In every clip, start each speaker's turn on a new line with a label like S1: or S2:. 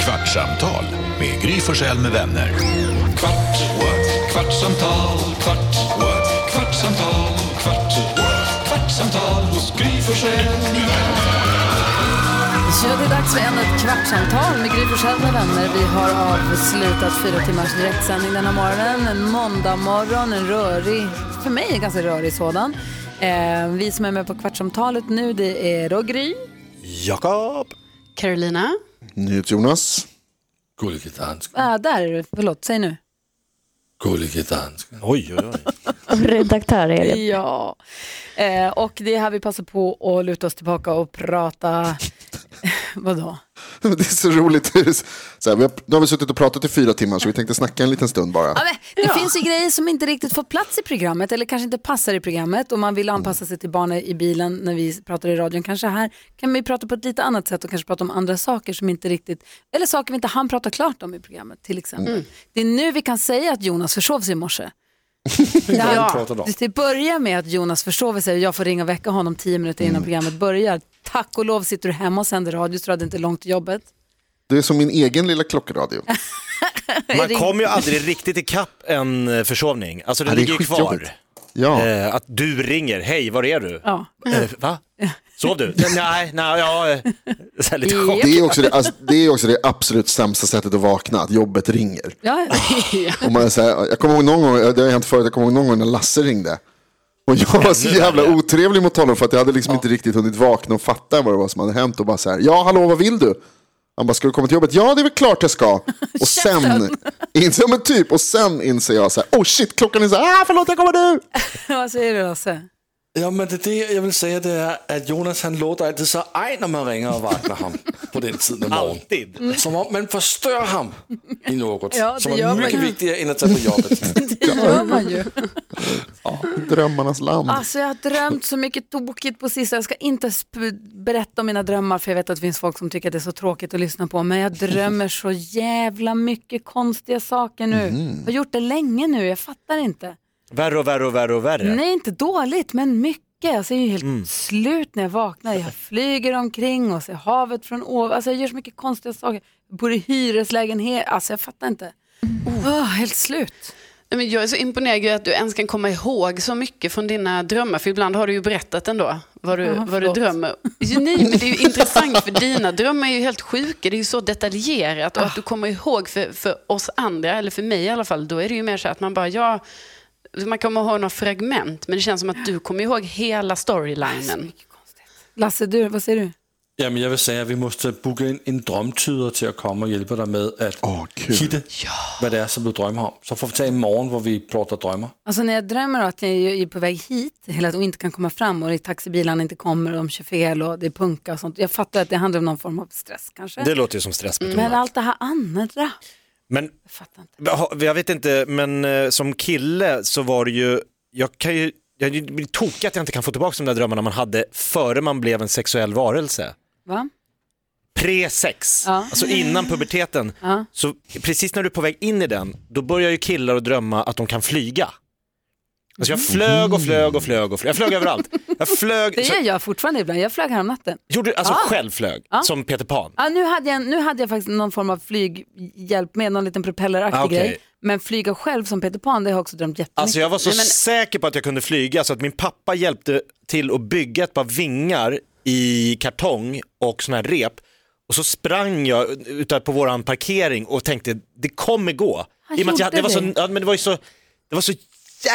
S1: Kvartsamtal med Gry Forssell med vänner. Kvart, what? kvartsamtal, kvart, what? kvartsamtal, kvart, what? kvartsamtal hos Gry Forssell med vänner.
S2: Så det är dags för ännu ett kvartsamtal med Gry Forssell med vänner. Vi har avslutat fyra timmars direktsändning denna morgonen. En måndag morgon, en rörig, för mig en ganska rörig sådan. Eh, vi som är med på kvartsamtalet nu, det är då Gry.
S3: Jakob.
S4: Carolina.
S5: Jonas.
S6: Gullige dansken,
S2: Ah, där är du. Förlåt, säg nu.
S6: gullige dansken.
S3: Oj, oj, oj.
S7: Redaktör Elin.
S2: Ja. Eh, och det är här vi passar på att luta oss tillbaka och prata... Vadå?
S5: Det är så roligt. Så här, vi har, nu har vi suttit och pratat i fyra timmar så vi tänkte snacka en liten stund bara.
S2: Ja, men det finns ju grejer som inte riktigt får plats i programmet eller kanske inte passar i programmet och man vill anpassa sig till barnen i bilen när vi pratar i radion. Kanske här kan vi prata på ett lite annat sätt och kanske prata om andra saker som inte riktigt, eller saker vi inte hann prata klart om i programmet till exempel. Det är nu vi kan säga att Jonas försov sig i morse. ja.
S3: pratade om.
S2: Det börjar med att Jonas försover sig och jag får ringa och väcka honom tio minuter innan programmet börjar. Tack och lov sitter du hemma och sänder radio så du hade inte långt till jobbet.
S5: Det är som min egen lilla klockradio.
S3: Man kommer ju aldrig riktigt ikapp en eh, försovning. Alltså det,
S5: Ja, det är
S3: ligger ju
S5: skitjobbigt.
S3: kvar.
S5: Ja,
S3: Eh, att du ringer, hej var är du?
S2: Ja.
S3: Eh, va? Sov du? nej, nej, ja. eh, Så här lite chock.
S5: det är, också det, alltså, det är också det absolut sämsta sättet att vakna, att jobbet ringer.
S2: Ja.
S5: Och man är så här, jag kommer ihåg någon gång, det har hänt förut, jag kommer ihåg någon gång när Lasse ringde. Och jag var så jävla otrevlig mot honom för att jag hade liksom inte riktigt hunnit vakna och fatta vad det var som hade hänt. Och bara så här, ja hallå vad vill du? Han bara, ska du komma till jobbet? Ja det är väl klart jag ska. Och sen, inser, ja, men typ, och sen inser jag så här, oh shit klockan är så här, ah, förlåt jag kommer nu.
S2: Vad säger du Lasse?
S6: Ja, men det, det jeg vil sige, det er, at Jonas han låter altid så ej, når man ringer og vagter ham på den tid af morgenen.
S3: Alltid.
S6: Som om man forstørrer ham i noget,
S2: Ja, det
S6: som
S2: gør
S6: er
S2: man
S6: mycket
S2: jo.
S6: vigtigere end at tage på jobbet.
S2: Det gör man ju.
S5: Drömmarnas land.
S2: Alltså jag har drömt så mycket tokigt på sistone. Jag ska inte sp- berätta om mina drömmar för jag vet att det finns folk som tycker att det är så tråkigt att lyssna på. Men jag drömmer så jävla mycket konstiga saker nu. Jag har gjort det länge nu, jag fattar inte.
S3: Värre och värre och värre och värre.
S2: Nej, inte dåligt, men mycket. Alltså, jag är ju helt slut när jag vaknar. Jag flyger omkring och ser havet från ovan. Alltså, jag gör så mycket konstiga saker. Jag bor i hyreslägenhet. Alltså, jag fattar inte. Åh, helt slut.
S4: Nej, men Jag är så imponerad över att du ens kan komma ihåg så mycket från dina drömmar, för ibland har du ju berättat ändå vad du, vad du
S2: förlåt.
S4: drömmer. Jo, Nej, men det är ju intressant, för dina drömmar är ju helt sjuka, det är ju så detaljerat och
S2: Ah.
S4: att du kommer ihåg för, för oss andra, eller för mig i alla fall, då är det ju mer så att man bara, ja, man kommer ihåg några fragment, men det känns som att du kommer ihåg hela storylinen.
S2: Alltså, Lasse, du, vad säger du?
S6: Jamen, jeg vil sige, at vi måste booke en, en drømtyder til at komme og hjælpe dig med at
S5: Åh, kul.
S6: hitte, hvad det er, som du drømmer om. Så får vi tage en morgen, hvor vi plotter drømmer.
S2: Alltså när jag drömmer att jag är på väg hit hela tiden och inte kan komma fram och i taxibilarna inte kommer och de kör fel och det är punka och sånt. Jag fattar att det handlar om någon form av stress kanske.
S5: Mm.
S3: Det låter ju som stressbetonat.
S2: Men allt det här andra,
S3: Men
S2: jag fattar inte.
S3: Ja, Jag vet inte, men eh, som kille så var det ju, jag kan ju, jag blir tokig att jag inte kan få tillbaka de där drömmarna man hade före man blev en sexuell varelse.
S2: Va?
S3: Pre-sex,
S2: Ja.
S3: alltså innan puberteten.
S2: Ja.
S3: Så precis när du är på väg in i den, då börjar ju killar att drömma att de kan flyga. Alltså jag flög och flög och flög och flög. Jag flög överallt. Jag flög,
S2: Det
S3: så,
S2: gör jag fortfarande ibland. Jag flög häromnatten.
S3: gjorde, alltså själv flög, som Peter Pan.
S2: Ja, nu, hade jag, nu hade jag faktiskt någon form av flyghjälp med, någon liten propelleraktig
S3: Ah, okej.
S2: grej. Men flyga själv som Peter Pan, det har jag också drömt jättemycket.
S3: Alltså jag var så
S4: Nej, men-
S3: säker på att jag kunde flyga så att min pappa hjälpte till att bygga ett par vingar i kartong och sådana här rep. Och så sprang jag ute på våran parkering och tänkte det kommer gå.
S2: Han
S3: I och med att jag,
S2: gjorde
S3: det, var så,
S2: det.
S3: ja, men det var ju så, det var så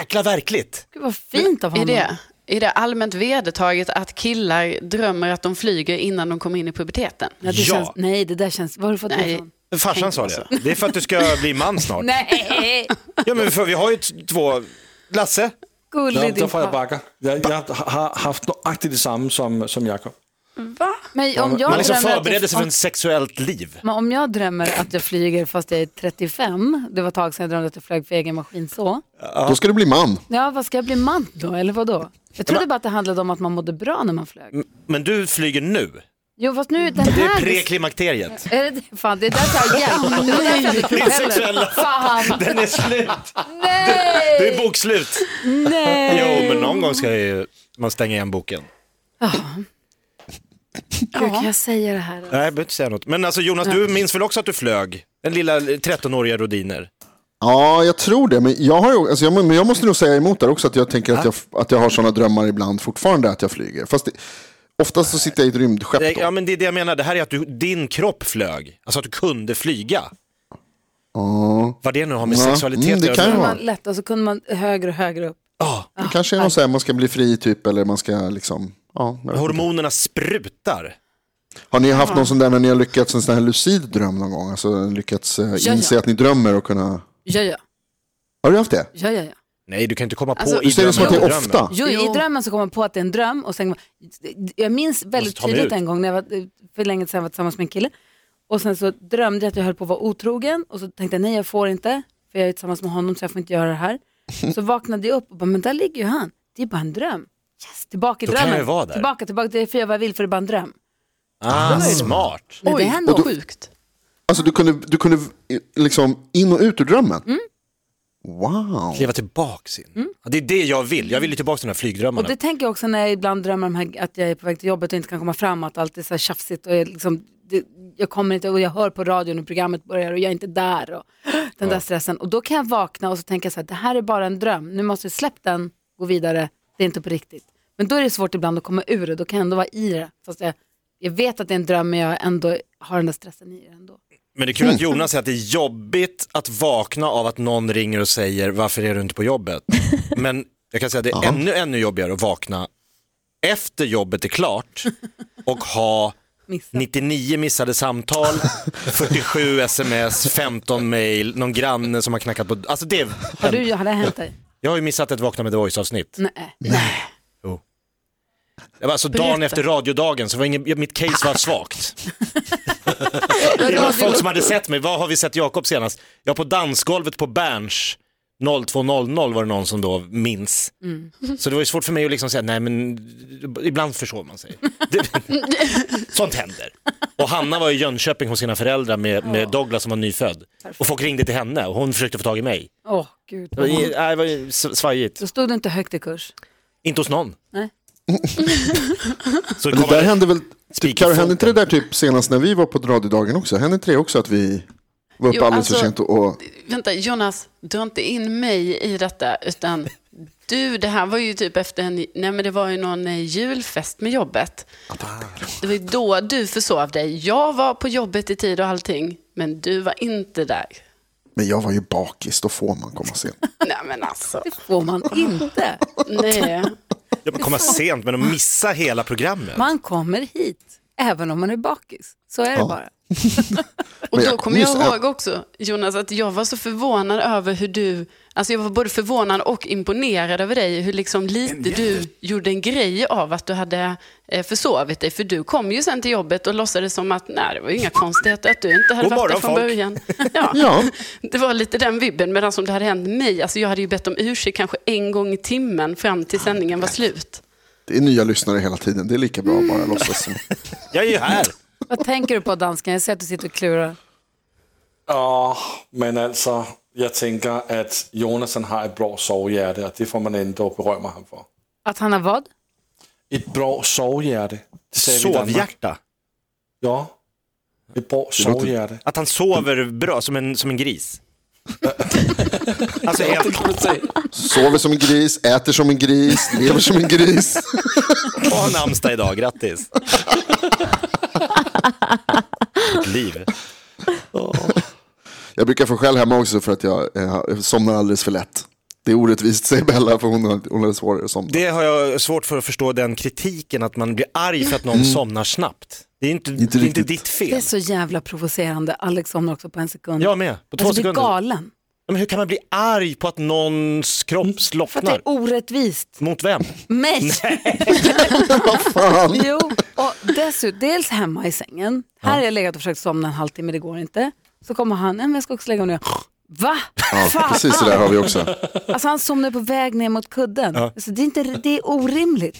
S3: jäkla verkligt.
S2: Gud vad fint av
S4: Är
S2: honom.
S4: det, är det allmänt vedertaget att killar drömmer att de flyger innan de kommer in i puberteten?
S2: Ja, det
S3: Ja.
S2: Känns, nej, det där känns... Var har du fått det
S4: Nej.
S2: ifrån?
S3: Farsan
S4: Tänk
S3: sa
S4: alltså.
S3: det. Det är för att du ska bli man snart.
S2: Nej,
S3: Ja men för vi har ju t- två, Lasse,
S2: gullig
S6: Nå,
S2: din
S6: der får jeg
S2: pappa.
S6: bakker. Jeg, jeg har haft nøjagtigt det samme som, som Jakob.
S2: Men om jag drömmer
S3: man liksom
S2: att jag-
S3: förbereder sig för ett sexuellt liv.
S2: Men om jag drömmer att jag flyger fast jag är 35, det var ett tag sedan jag drömde att jag flög för egen maskin så.
S3: Ah.
S5: Då ska du bli man.
S2: Ja, vad ska jag bli man då, eller vad då? Jag trodde bara att det handlade om att man mådde bra när man flög.
S3: Men du flyger nu.
S2: Jo, fast nu den
S3: Mm. Det är
S2: här...
S3: preklimakteriet.
S2: Är det det? Fan, det är därför jag har hjälp. Det är därför jag hade propeller.
S3: sexuella-
S2: Fan,
S3: Den är slut. Det är
S2: nej!
S3: bokslut.
S2: nej.
S3: Jo, men någon gång ska jag ju, man stänga igen boken.
S2: Gud, kan jag säga det här?
S3: Nej, jag behöver inte säga något. Men alltså Jonas, du minns väl också att du flög? Den lilla 13-åriga rodiner.
S5: Ja, jag tror det. Men jag, har, ju- alltså jag, men jag måste nog säga emot där också. Att jag tänker
S3: Ah.
S5: att jag, att jag har sådana drömmar ibland fortfarande att jag flyger. Fast det, oftast så sitter jag i ett rymdskepp då.
S3: Nej, Eh, Ja, men det är det jag menar. Det här är att du, din kropp flög. Alltså att du kunde flyga.
S5: Ja,
S3: Vad det nu har med
S5: Ja,
S3: sexualitet
S5: mm, det
S3: att
S5: kan
S3: göra.
S5: ju
S2: Kunde
S5: vara.
S2: man lätta och så kunde man högre och högre upp.
S3: Ja,
S5: det kanske är någon så här, man ska bli fri typ. Eller man ska liksom... Ja, jag vet inte.
S3: hormonerna sprutar.
S5: har ni haft någon sån där när ni har lyckats en sån här lucid dröm någon gång? Alltså lyckats eh,
S2: ja.
S5: inse att ni drömmer och kunna...
S2: Ja, ja,
S5: Har du haft det?
S2: ja, ja. ja.
S3: Nej, du kan inte komma på
S4: Alltså,
S3: i
S5: Du ser det som att det
S3: drömmen.
S5: är ofta.
S2: Jo, i drömmen så kom man på att det är en dröm och sen, jag minns väldigt
S3: Måste ta mig
S2: tydligt
S3: ut.
S2: en gång när jag var, för länge sedan jag var tillsammans med en kille och sen så drömde jag att jag höll på att vara otrogen och så tänkte jag nej jag får inte för jag är tillsammans med honom så jag får inte göra det här. Så vaknade jag upp och bara men där ligger ju han, det är bara en dröm. Yes, tillbaka i
S3: Då kan
S2: drömmen,
S3: jag ju vara där.
S2: tillbaka, tillbaka, det får jag vad jag vill för det är bara en dröm.
S3: Ah, smart.
S2: Nej, det hände också.
S4: sjukt.
S5: Alltså du kunde, du kunde eh, liksom in och ut ur drömmen? Wow.
S3: Kliva tillbaks in.
S5: Mm.
S3: Ja, det är det jag vill. Jag vill ju tillbaks till de här
S2: Och
S3: flygdrömmarna.
S2: det tänker jag också när jag ibland drömmer om här, att jag är på väg till jobbet och inte kan komma fram, att allt är så här tjafsigt och jag, liksom, det, jag kommer inte och jag hör på radion och programmet börjar och jag är inte där och den där stressen. Och då kan jag vakna och så tänka så här, det här är bara en dröm, nu måste jag släppa den, gå vidare, det är inte på riktigt. Men då är det svårt ibland att komma ur det, då kan jag ändå vara i det. Fast jag, jag vet att det är en dröm men jag ändå har den där stressen i det ändå.
S3: Men det är kul att Jonas säger att det är jobbigt att vakna av att någon ringer och säger varför är du inte på jobbet? Men jag kan säga att det är ännu, ännu jobbigare att vakna efter jobbet är klart och ha
S2: Missa.
S3: 99 missade samtal, 47 sms, 15 mail, någon granne som har knackat på... Alltså det...
S2: Har, du, har det hänt dig?
S3: Jag har ju missat ett Vakna med The Voice-avsnitt.
S2: Nej.
S3: Det var alltså dagen
S4: Berätta.
S3: efter radiodagen, så var ingen, mitt case var svagt. det var folk som hade sett mig. Vad har vi sett Jakob senast? Jag på dansgolvet på Berns 02.00 var det någon som då minns. Så det var ju svårt för mig att liksom säga, nej men ibland försov man sig. Det, sånt händer. Och Hanna var i Jönköping hos sina föräldrar med, med Douglas som var nyfödd. Och folk ringde till henne och hon försökte få tag i mig.
S2: Åh gud.
S3: Det var, ju- nej, det var ju s- svajigt.
S2: Då stod du inte högt i kurs.
S3: Inte hos någon.
S2: Nej.
S3: Så
S5: Det där hände väl,
S3: Spik i
S5: Karo, hände
S3: foten.
S5: inte det där typ senast när vi var på radiodagen också? Hände inte det också att vi var uppe
S4: Jo,
S5: alldeles för
S4: alltså-
S5: sent och, och
S4: Vänta, Jonas, dra inte in mig i detta, utan du, det här var ju typ efter en, nej men det var ju någon eh, julfest med jobbet. Det var ju då du försov dig. Jag var på jobbet i tid och allting, men du var inte där.
S5: Men jag var ju bakis, då får man komma sent.
S4: Nej men alltså,
S2: Det får man inte.
S4: nej.
S3: Ja, men komma sent men att missa hela programmet.
S2: Man kommer hit, även om man är bakis. Så är det bara.
S4: Och
S5: Men
S4: då
S5: jag-
S4: kommer jag
S5: just det.
S4: ihåg också, Jonas, att jag var så förvånad över hur du, alltså jag var både förvånad och imponerad över dig, hur liksom lite du gjorde en grej av att du hade eh, försovit dig. För du kom ju sen till jobbet och låtsades som att, nej det var ju inga konstigheter att du inte hade
S3: God
S4: varit där
S3: morgon,
S4: från
S3: folk.
S4: början. Ja.
S5: Ja.
S4: Det var lite den vibben, medan som det hade hänt mig, alltså jag hade ju bett om ursäkt kanske en gång i timmen fram till sändningen var slut.
S5: Det är nya lyssnare hela tiden, det är lika bra att bara låtsas som.
S3: Jag är ju här.
S2: Vad tänker du på dansken? Jag ser att du sitter och klurar.
S6: Ja, men alltså, jag tänker att Jonas han har ett bra sovhjärta och det får man ändå berömma honom för.
S2: Att han har vad?
S6: Ett bra sovhjärta. Det säger vi i Danmark.
S3: Sovhjärta.
S6: Ja. Ett bra sovhjärta.
S3: Att han sover bra, som en, som en gris. alltså helt...
S5: Sover som en gris, äter som en gris, lever som en gris.
S3: Och har namnsdag idag, grattis. Mitt liv.
S5: Jag brukar få skäll hemma också för att jag eh, somnar alldeles för lätt. Det är orättvist, säger Bella, för hon har, hon har svårare att somna.
S3: Det har jag svårt för att förstå, den kritiken att man blir arg för att någon somnar snabbt. Det är inte, det är inte
S5: riktigt.
S3: ditt
S2: Det är
S3: fel.
S2: så jävla provocerande. Alex somnar också på en sekund.
S3: Jag med, på två
S2: alltså, blir
S3: sekunder.
S2: galen.
S3: Men hur kan man bli arg på att någons kropp
S2: Mm. För att det
S3: slocknar?
S2: är orättvist.
S3: Mot vem?
S2: Mig!
S5: Fan.
S2: jo, och dessutom, dels hemma i sängen. Här har jag legat och försökt somna en halvtimme, det går inte. Så kommer han, "Nej, men jag ska också lägga mig nu. Va?
S5: Ja,
S2: Fan.
S5: precis så där har vi också.
S2: Alltså han somnar på väg ner mot kudden. Alltså, det, är inte, det är orimligt.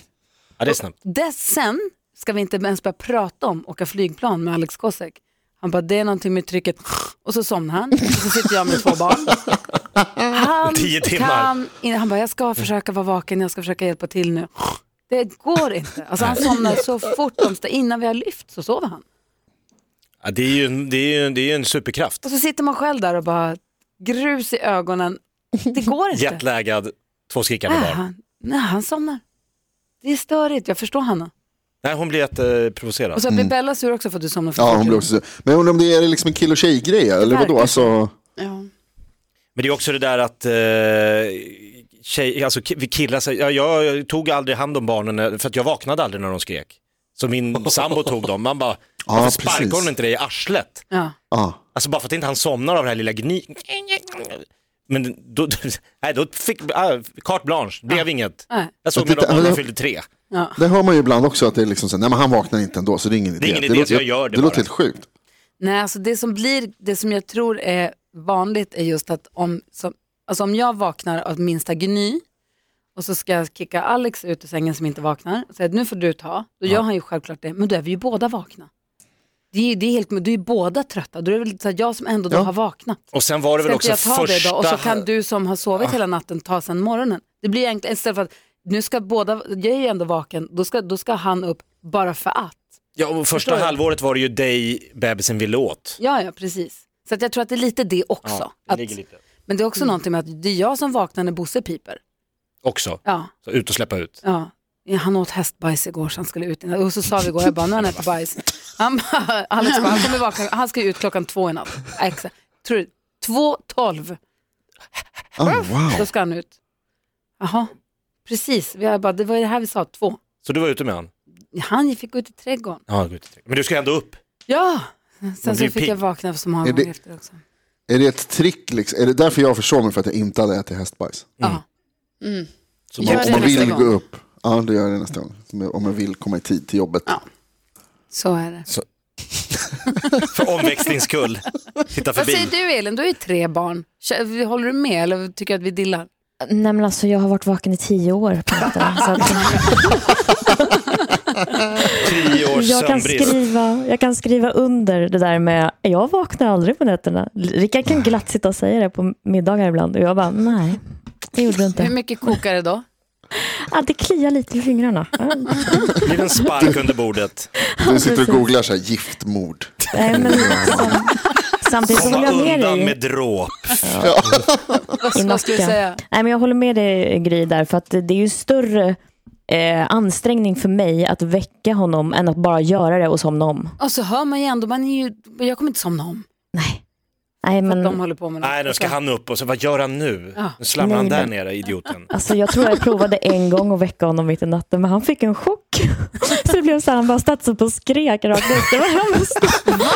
S3: Ja, det är snabbt.
S2: Dess sen ska vi inte ens börja prata om åka flygplan med Alex Kosek. Han bara, det är någonting med trycket och så somnar han. Och så sitter jag med två barn. Han,
S3: Tio timmar.
S2: kan, in- han bara, jag ska försöka vara vaken, jag ska försöka hjälpa till nu. Det går inte. Alltså han somnar så fort de stä- innan vi har lyft så sover han.
S3: Ja, det, är ju, en- det, är ju, det är ju en superkraft.
S2: Och så sitter man själv där och bara grus i ögonen. Det Äh. går inte.
S3: Jetlaggad, två skrikande
S2: Nej,
S3: barn.
S2: han, nej, han somnar. Det är störigt, jag förstår Hanna.
S3: Nej, hon blir eh, jätteprovocerad.
S2: Och så blir Bella sur också för att du somnar för
S5: Mm. Ja,
S2: fort.
S5: hon blir också sur. Men jag undrar om det är liksom en kill och tjej-grej, eller vadå?
S2: verkar
S5: Alltså,
S4: Ja.
S3: Men det är också det där att eh, tjej, alltså ki- vi killar, sig- ja, jag, jag tog aldrig hand om barnen när- för att jag vaknade aldrig när de skrek. Så min sambo tog dem, man bara, varför sparkar
S5: precis.
S3: hon inte dig i arslet?
S2: Ja.
S5: ja.
S3: Alltså bara för att inte han somnar av det här lilla gny... Men då, nej, då fick, äh, carte blanche, blev inget.
S2: Nej.
S3: Jag såg
S5: Men
S3: med dem
S5: titta,
S3: när
S5: men-
S3: de fyllde tre.
S5: Det hör man ju ibland också att det är liksom så, här, nej men han vaknar inte ändå så det är ingen idé.
S3: ingen idé,
S5: låter-
S3: så jag gör det
S5: Det
S3: bara.
S5: låter helt sjukt.
S2: Nej, alltså det som blir, det som jag tror är vanligt är just att om, som, alltså om jag vaknar av minsta gny och så ska jag kicka Alex ut ur sängen som inte vaknar och säga att nu får du ta, då gör han ju självklart det, men då är vi ju båda vakna. Det är, ju- det är helt, men du är ju båda trötta, då är det väl så här, jag som ändå då
S5: Ja.
S2: har vaknat.
S3: Och sen var det väl
S2: Ska
S3: också
S2: inte jag ta det
S3: första... Ah.
S2: då? Och så kan du som har sovit hela natten ta sen morgonen. Det blir egentligen, istället för att nu ska båda, jag är ju ändå vaken, då ska, då ska han upp bara för att.
S3: ja, och första
S2: Förstår du?
S3: halvåret var det ju dig bebisen ville åt.
S2: Ja, ja, precis. Så att jag tror att det är lite det också.
S3: det
S2: att,
S3: ligger lite.
S2: Men det är också någonting med att det är jag som vaknar när Bosse piper.
S3: Också,
S2: Ja,
S3: så ut och släppa ut.
S2: ja. Ja, Han åt hästbajs igår så han skulle ut. Och så sa vi igår, jag bara, nu har han ätit bajs. Han bara, Alex bara, han kommer vakna, han ska ju ut klockan två i natt. Exakt. Tror du, två tolv,
S5: Ah, wow.
S2: då ska han ut. Jaha, precis. Vi har bara, det var ju det här vi sa, två.
S3: Så du var ute med han?
S2: Han fick gå ut i trädgården.
S3: Ja, gå ut i trädgården. men du ska ändå upp.
S2: Ja, sen
S3: Man
S2: så
S3: blir
S2: fick
S3: pigg.
S2: jag vakna så många
S5: Är det-
S2: gånger efter också.
S5: Är det ett trick liksom? Är det därför jag försov mig för att jag inte hade ätit hästbajs?
S2: Ja.
S3: Så
S4: Gör
S3: man,
S4: det
S5: Om man
S4: nästa
S5: vill
S4: gång.
S5: gå upp. Ja, det gör jag nästa gång. Om jag- Om jag vill komma i tid till jobbet.
S4: Ja.
S2: Så är det.
S3: för omväxlings skull. Titta
S2: Vad
S3: förbi.
S2: säger du Elin, du har ju tre barn. Kö- Håller du med eller tycker du att vi dillar?
S7: Nej men alltså jag har varit vaken i tio år på natten. Så att
S3: Tio års
S7: jag, kan
S3: sömnbrist.
S7: skriva, jag kan skriva under det där med jag vaknar aldrig på nätterna. Rickard kan glatt sitta och säga det på middagar ibland och jag bara nej, det gjorde du
S2: Hur
S7: inte.
S2: mycket kokar det då?
S7: Ah, det kliar lite i fingrarna. Ja,
S3: Blir en spark under bordet.
S5: Du sitter och
S7: precis.
S5: googlar så här, giftmord.
S7: Nej, men, sam, samtidigt så håller
S3: Komma
S7: jag med
S3: undan
S7: dig.
S3: med dråp.
S7: i
S2: Vad skulle du
S7: nacken.
S2: säga?
S7: Nej, men jag håller med dig Gry där, för att det är ju större eh, ansträngning för mig att väcka honom än att bara göra det och somna om.
S2: Och så hör man ju ändå, man är ju, jag kommer inte somna om.
S7: Nej. Nej,
S2: Men, de
S7: men
S2: håller på med något.
S3: Nej, nu ska han upp och så vad gör han nu?
S2: Ja.
S3: Nu slamrar han
S7: Nej,
S3: där
S7: men-
S3: nere, idioten.
S7: alltså, jag tror jag provade en gång att väcka honom mitt i natten, men han fick en chock. Så det blev så här, han bara satt upp och skrek rakt ut. Det var hemskt.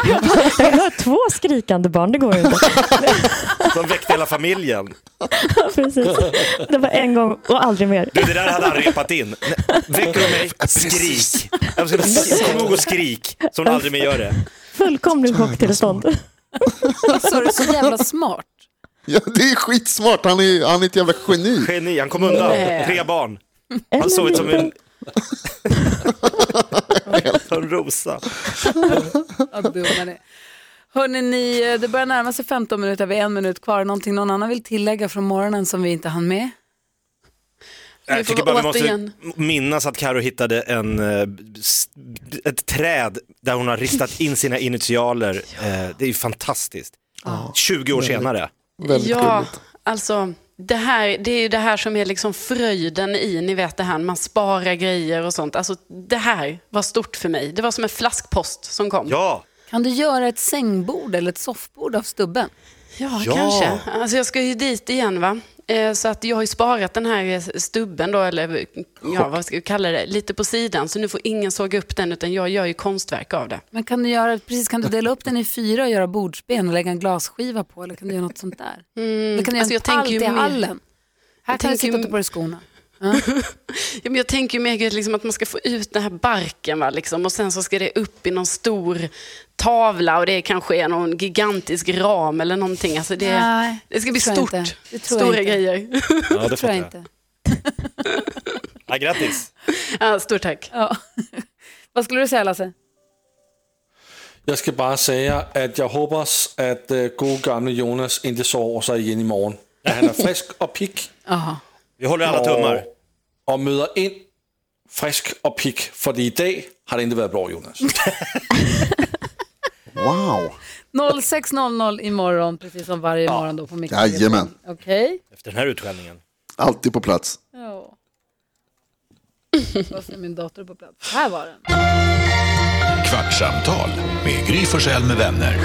S7: Jag bara, Jag har två skrikande barn, det går ju inte.
S3: De väckte hela familjen.
S7: Precis. Det var en gång och aldrig mer.
S3: Du, det där hade han repat in. Nej, Väcker du mig, skrik. Jag skulle säga, Kom ihåg och skrik, som de aldrig mer gör det.
S7: Fullkomlig chocktillstånd.
S2: Så är det så jävla smart.
S5: Ja, det är skitsmart. Han är, han är ett jävla geni.
S3: Geni, han kom undan. Tre barn. Han såg ut som en... Som en rosa.
S2: Hörrni, ni, eh, det börjar närma sig 15 minuter, vi har en minut kvar. Någonting någon annan vill tillägga från morgonen som vi inte hann med?
S4: Vi
S3: Jag
S4: får
S3: tycker bara vi måste
S4: återigen-
S3: minnas att Karo hittade en, eh, s- ett träd där hon har ristat in sina initialer. Eh, Det är ju fantastiskt. 20 år senare.
S5: Väldigt
S4: ja,
S5: gulligt.
S4: alltså det här, det är ju det här som är liksom fröjden i, ni vet det här, man sparar grejer och sånt. Alltså det här var stort för mig. Det var som en flaskpost som kom.
S3: Ja,
S2: Kan du göra ett sängbord eller ett soffbord av stubben?
S4: Ja,
S3: Ja.
S4: kanske. Alltså jag ska ju dit igen va. Eh, Så att jag har ju sparat den här eh, stubben då, eller ja, vad ska jag kalla det, lite på sidan. Så nu får ingen såga upp den, utan jag gör ju konstverk av det.
S2: Men kan du, göra, precis, kan du dela upp den i fyra och göra bordsben och lägga en glasskiva på? Eller kan du göra något sånt där? Eller kan du
S4: alltså
S2: göra
S4: jag
S2: en pall
S4: tänker ju
S2: till
S4: mer-
S2: hallen? Här
S4: Jag
S2: kan du
S4: tänker
S2: sitta
S4: ju-
S2: och ta på dig skorna.
S4: Ja, men jag tänker ju mer liksom att man ska få ut den här barken va, liksom, och sen så ska det upp i någon stor tavla och det kanske är någon gigantisk ram eller någonting. Alltså det,
S2: Nej,
S4: det ska bli
S2: det tror jag inte.
S4: stort.
S2: Det tror jag
S4: Stora
S2: inte.
S4: grejer.
S3: ja
S2: tror
S3: det fattar
S2: jag
S3: jag.
S2: inte.
S3: Ja, grattis.
S4: Ja, stort tack.
S2: Ja. Vad skulle du säga Lasse?
S6: Jag ska bara säga att jag hoppas att äh, god gamle Jonas inte sover sig igen imorgon. Att han är frisk och pigg
S2: Jaha.
S3: Vi håller alla tummar.
S6: och, och möter in frisk og pik, fordi i dag har det ikke været bra, Jonas.
S5: Wow.
S2: 06.00 imorgon, precis som varje morgon då på Mix
S5: Jajamän.
S2: Okej?
S3: Efter den här utskällningen.
S5: Alltid på plats.
S2: Ja. Fast är min dator på plats. Här var den.
S1: Kvartsamtal med Gry Forssell med vänner.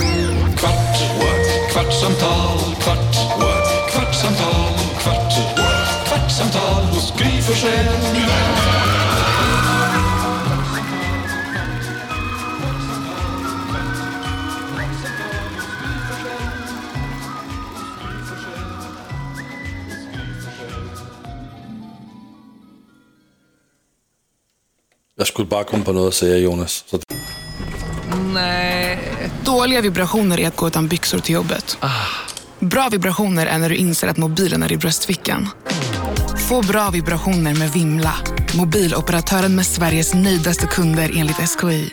S1: Kvart, what? kvartsamtal, kvart, what? kvartsamtal, kvart, what? kvartsamtal hos Gry Forssell med vänner.
S6: Jeg skulle bare komme på noget at sige, Jonas. Så
S8: Dåliga vibrationer är att gå utan byxor till jobbet. Bra vibrationer är när du inser att mobilen är i bröstfickan. Få bra vibrationer med Vimla. Mobiloperatören med Sveriges nöjdaste kunder enligt SKI.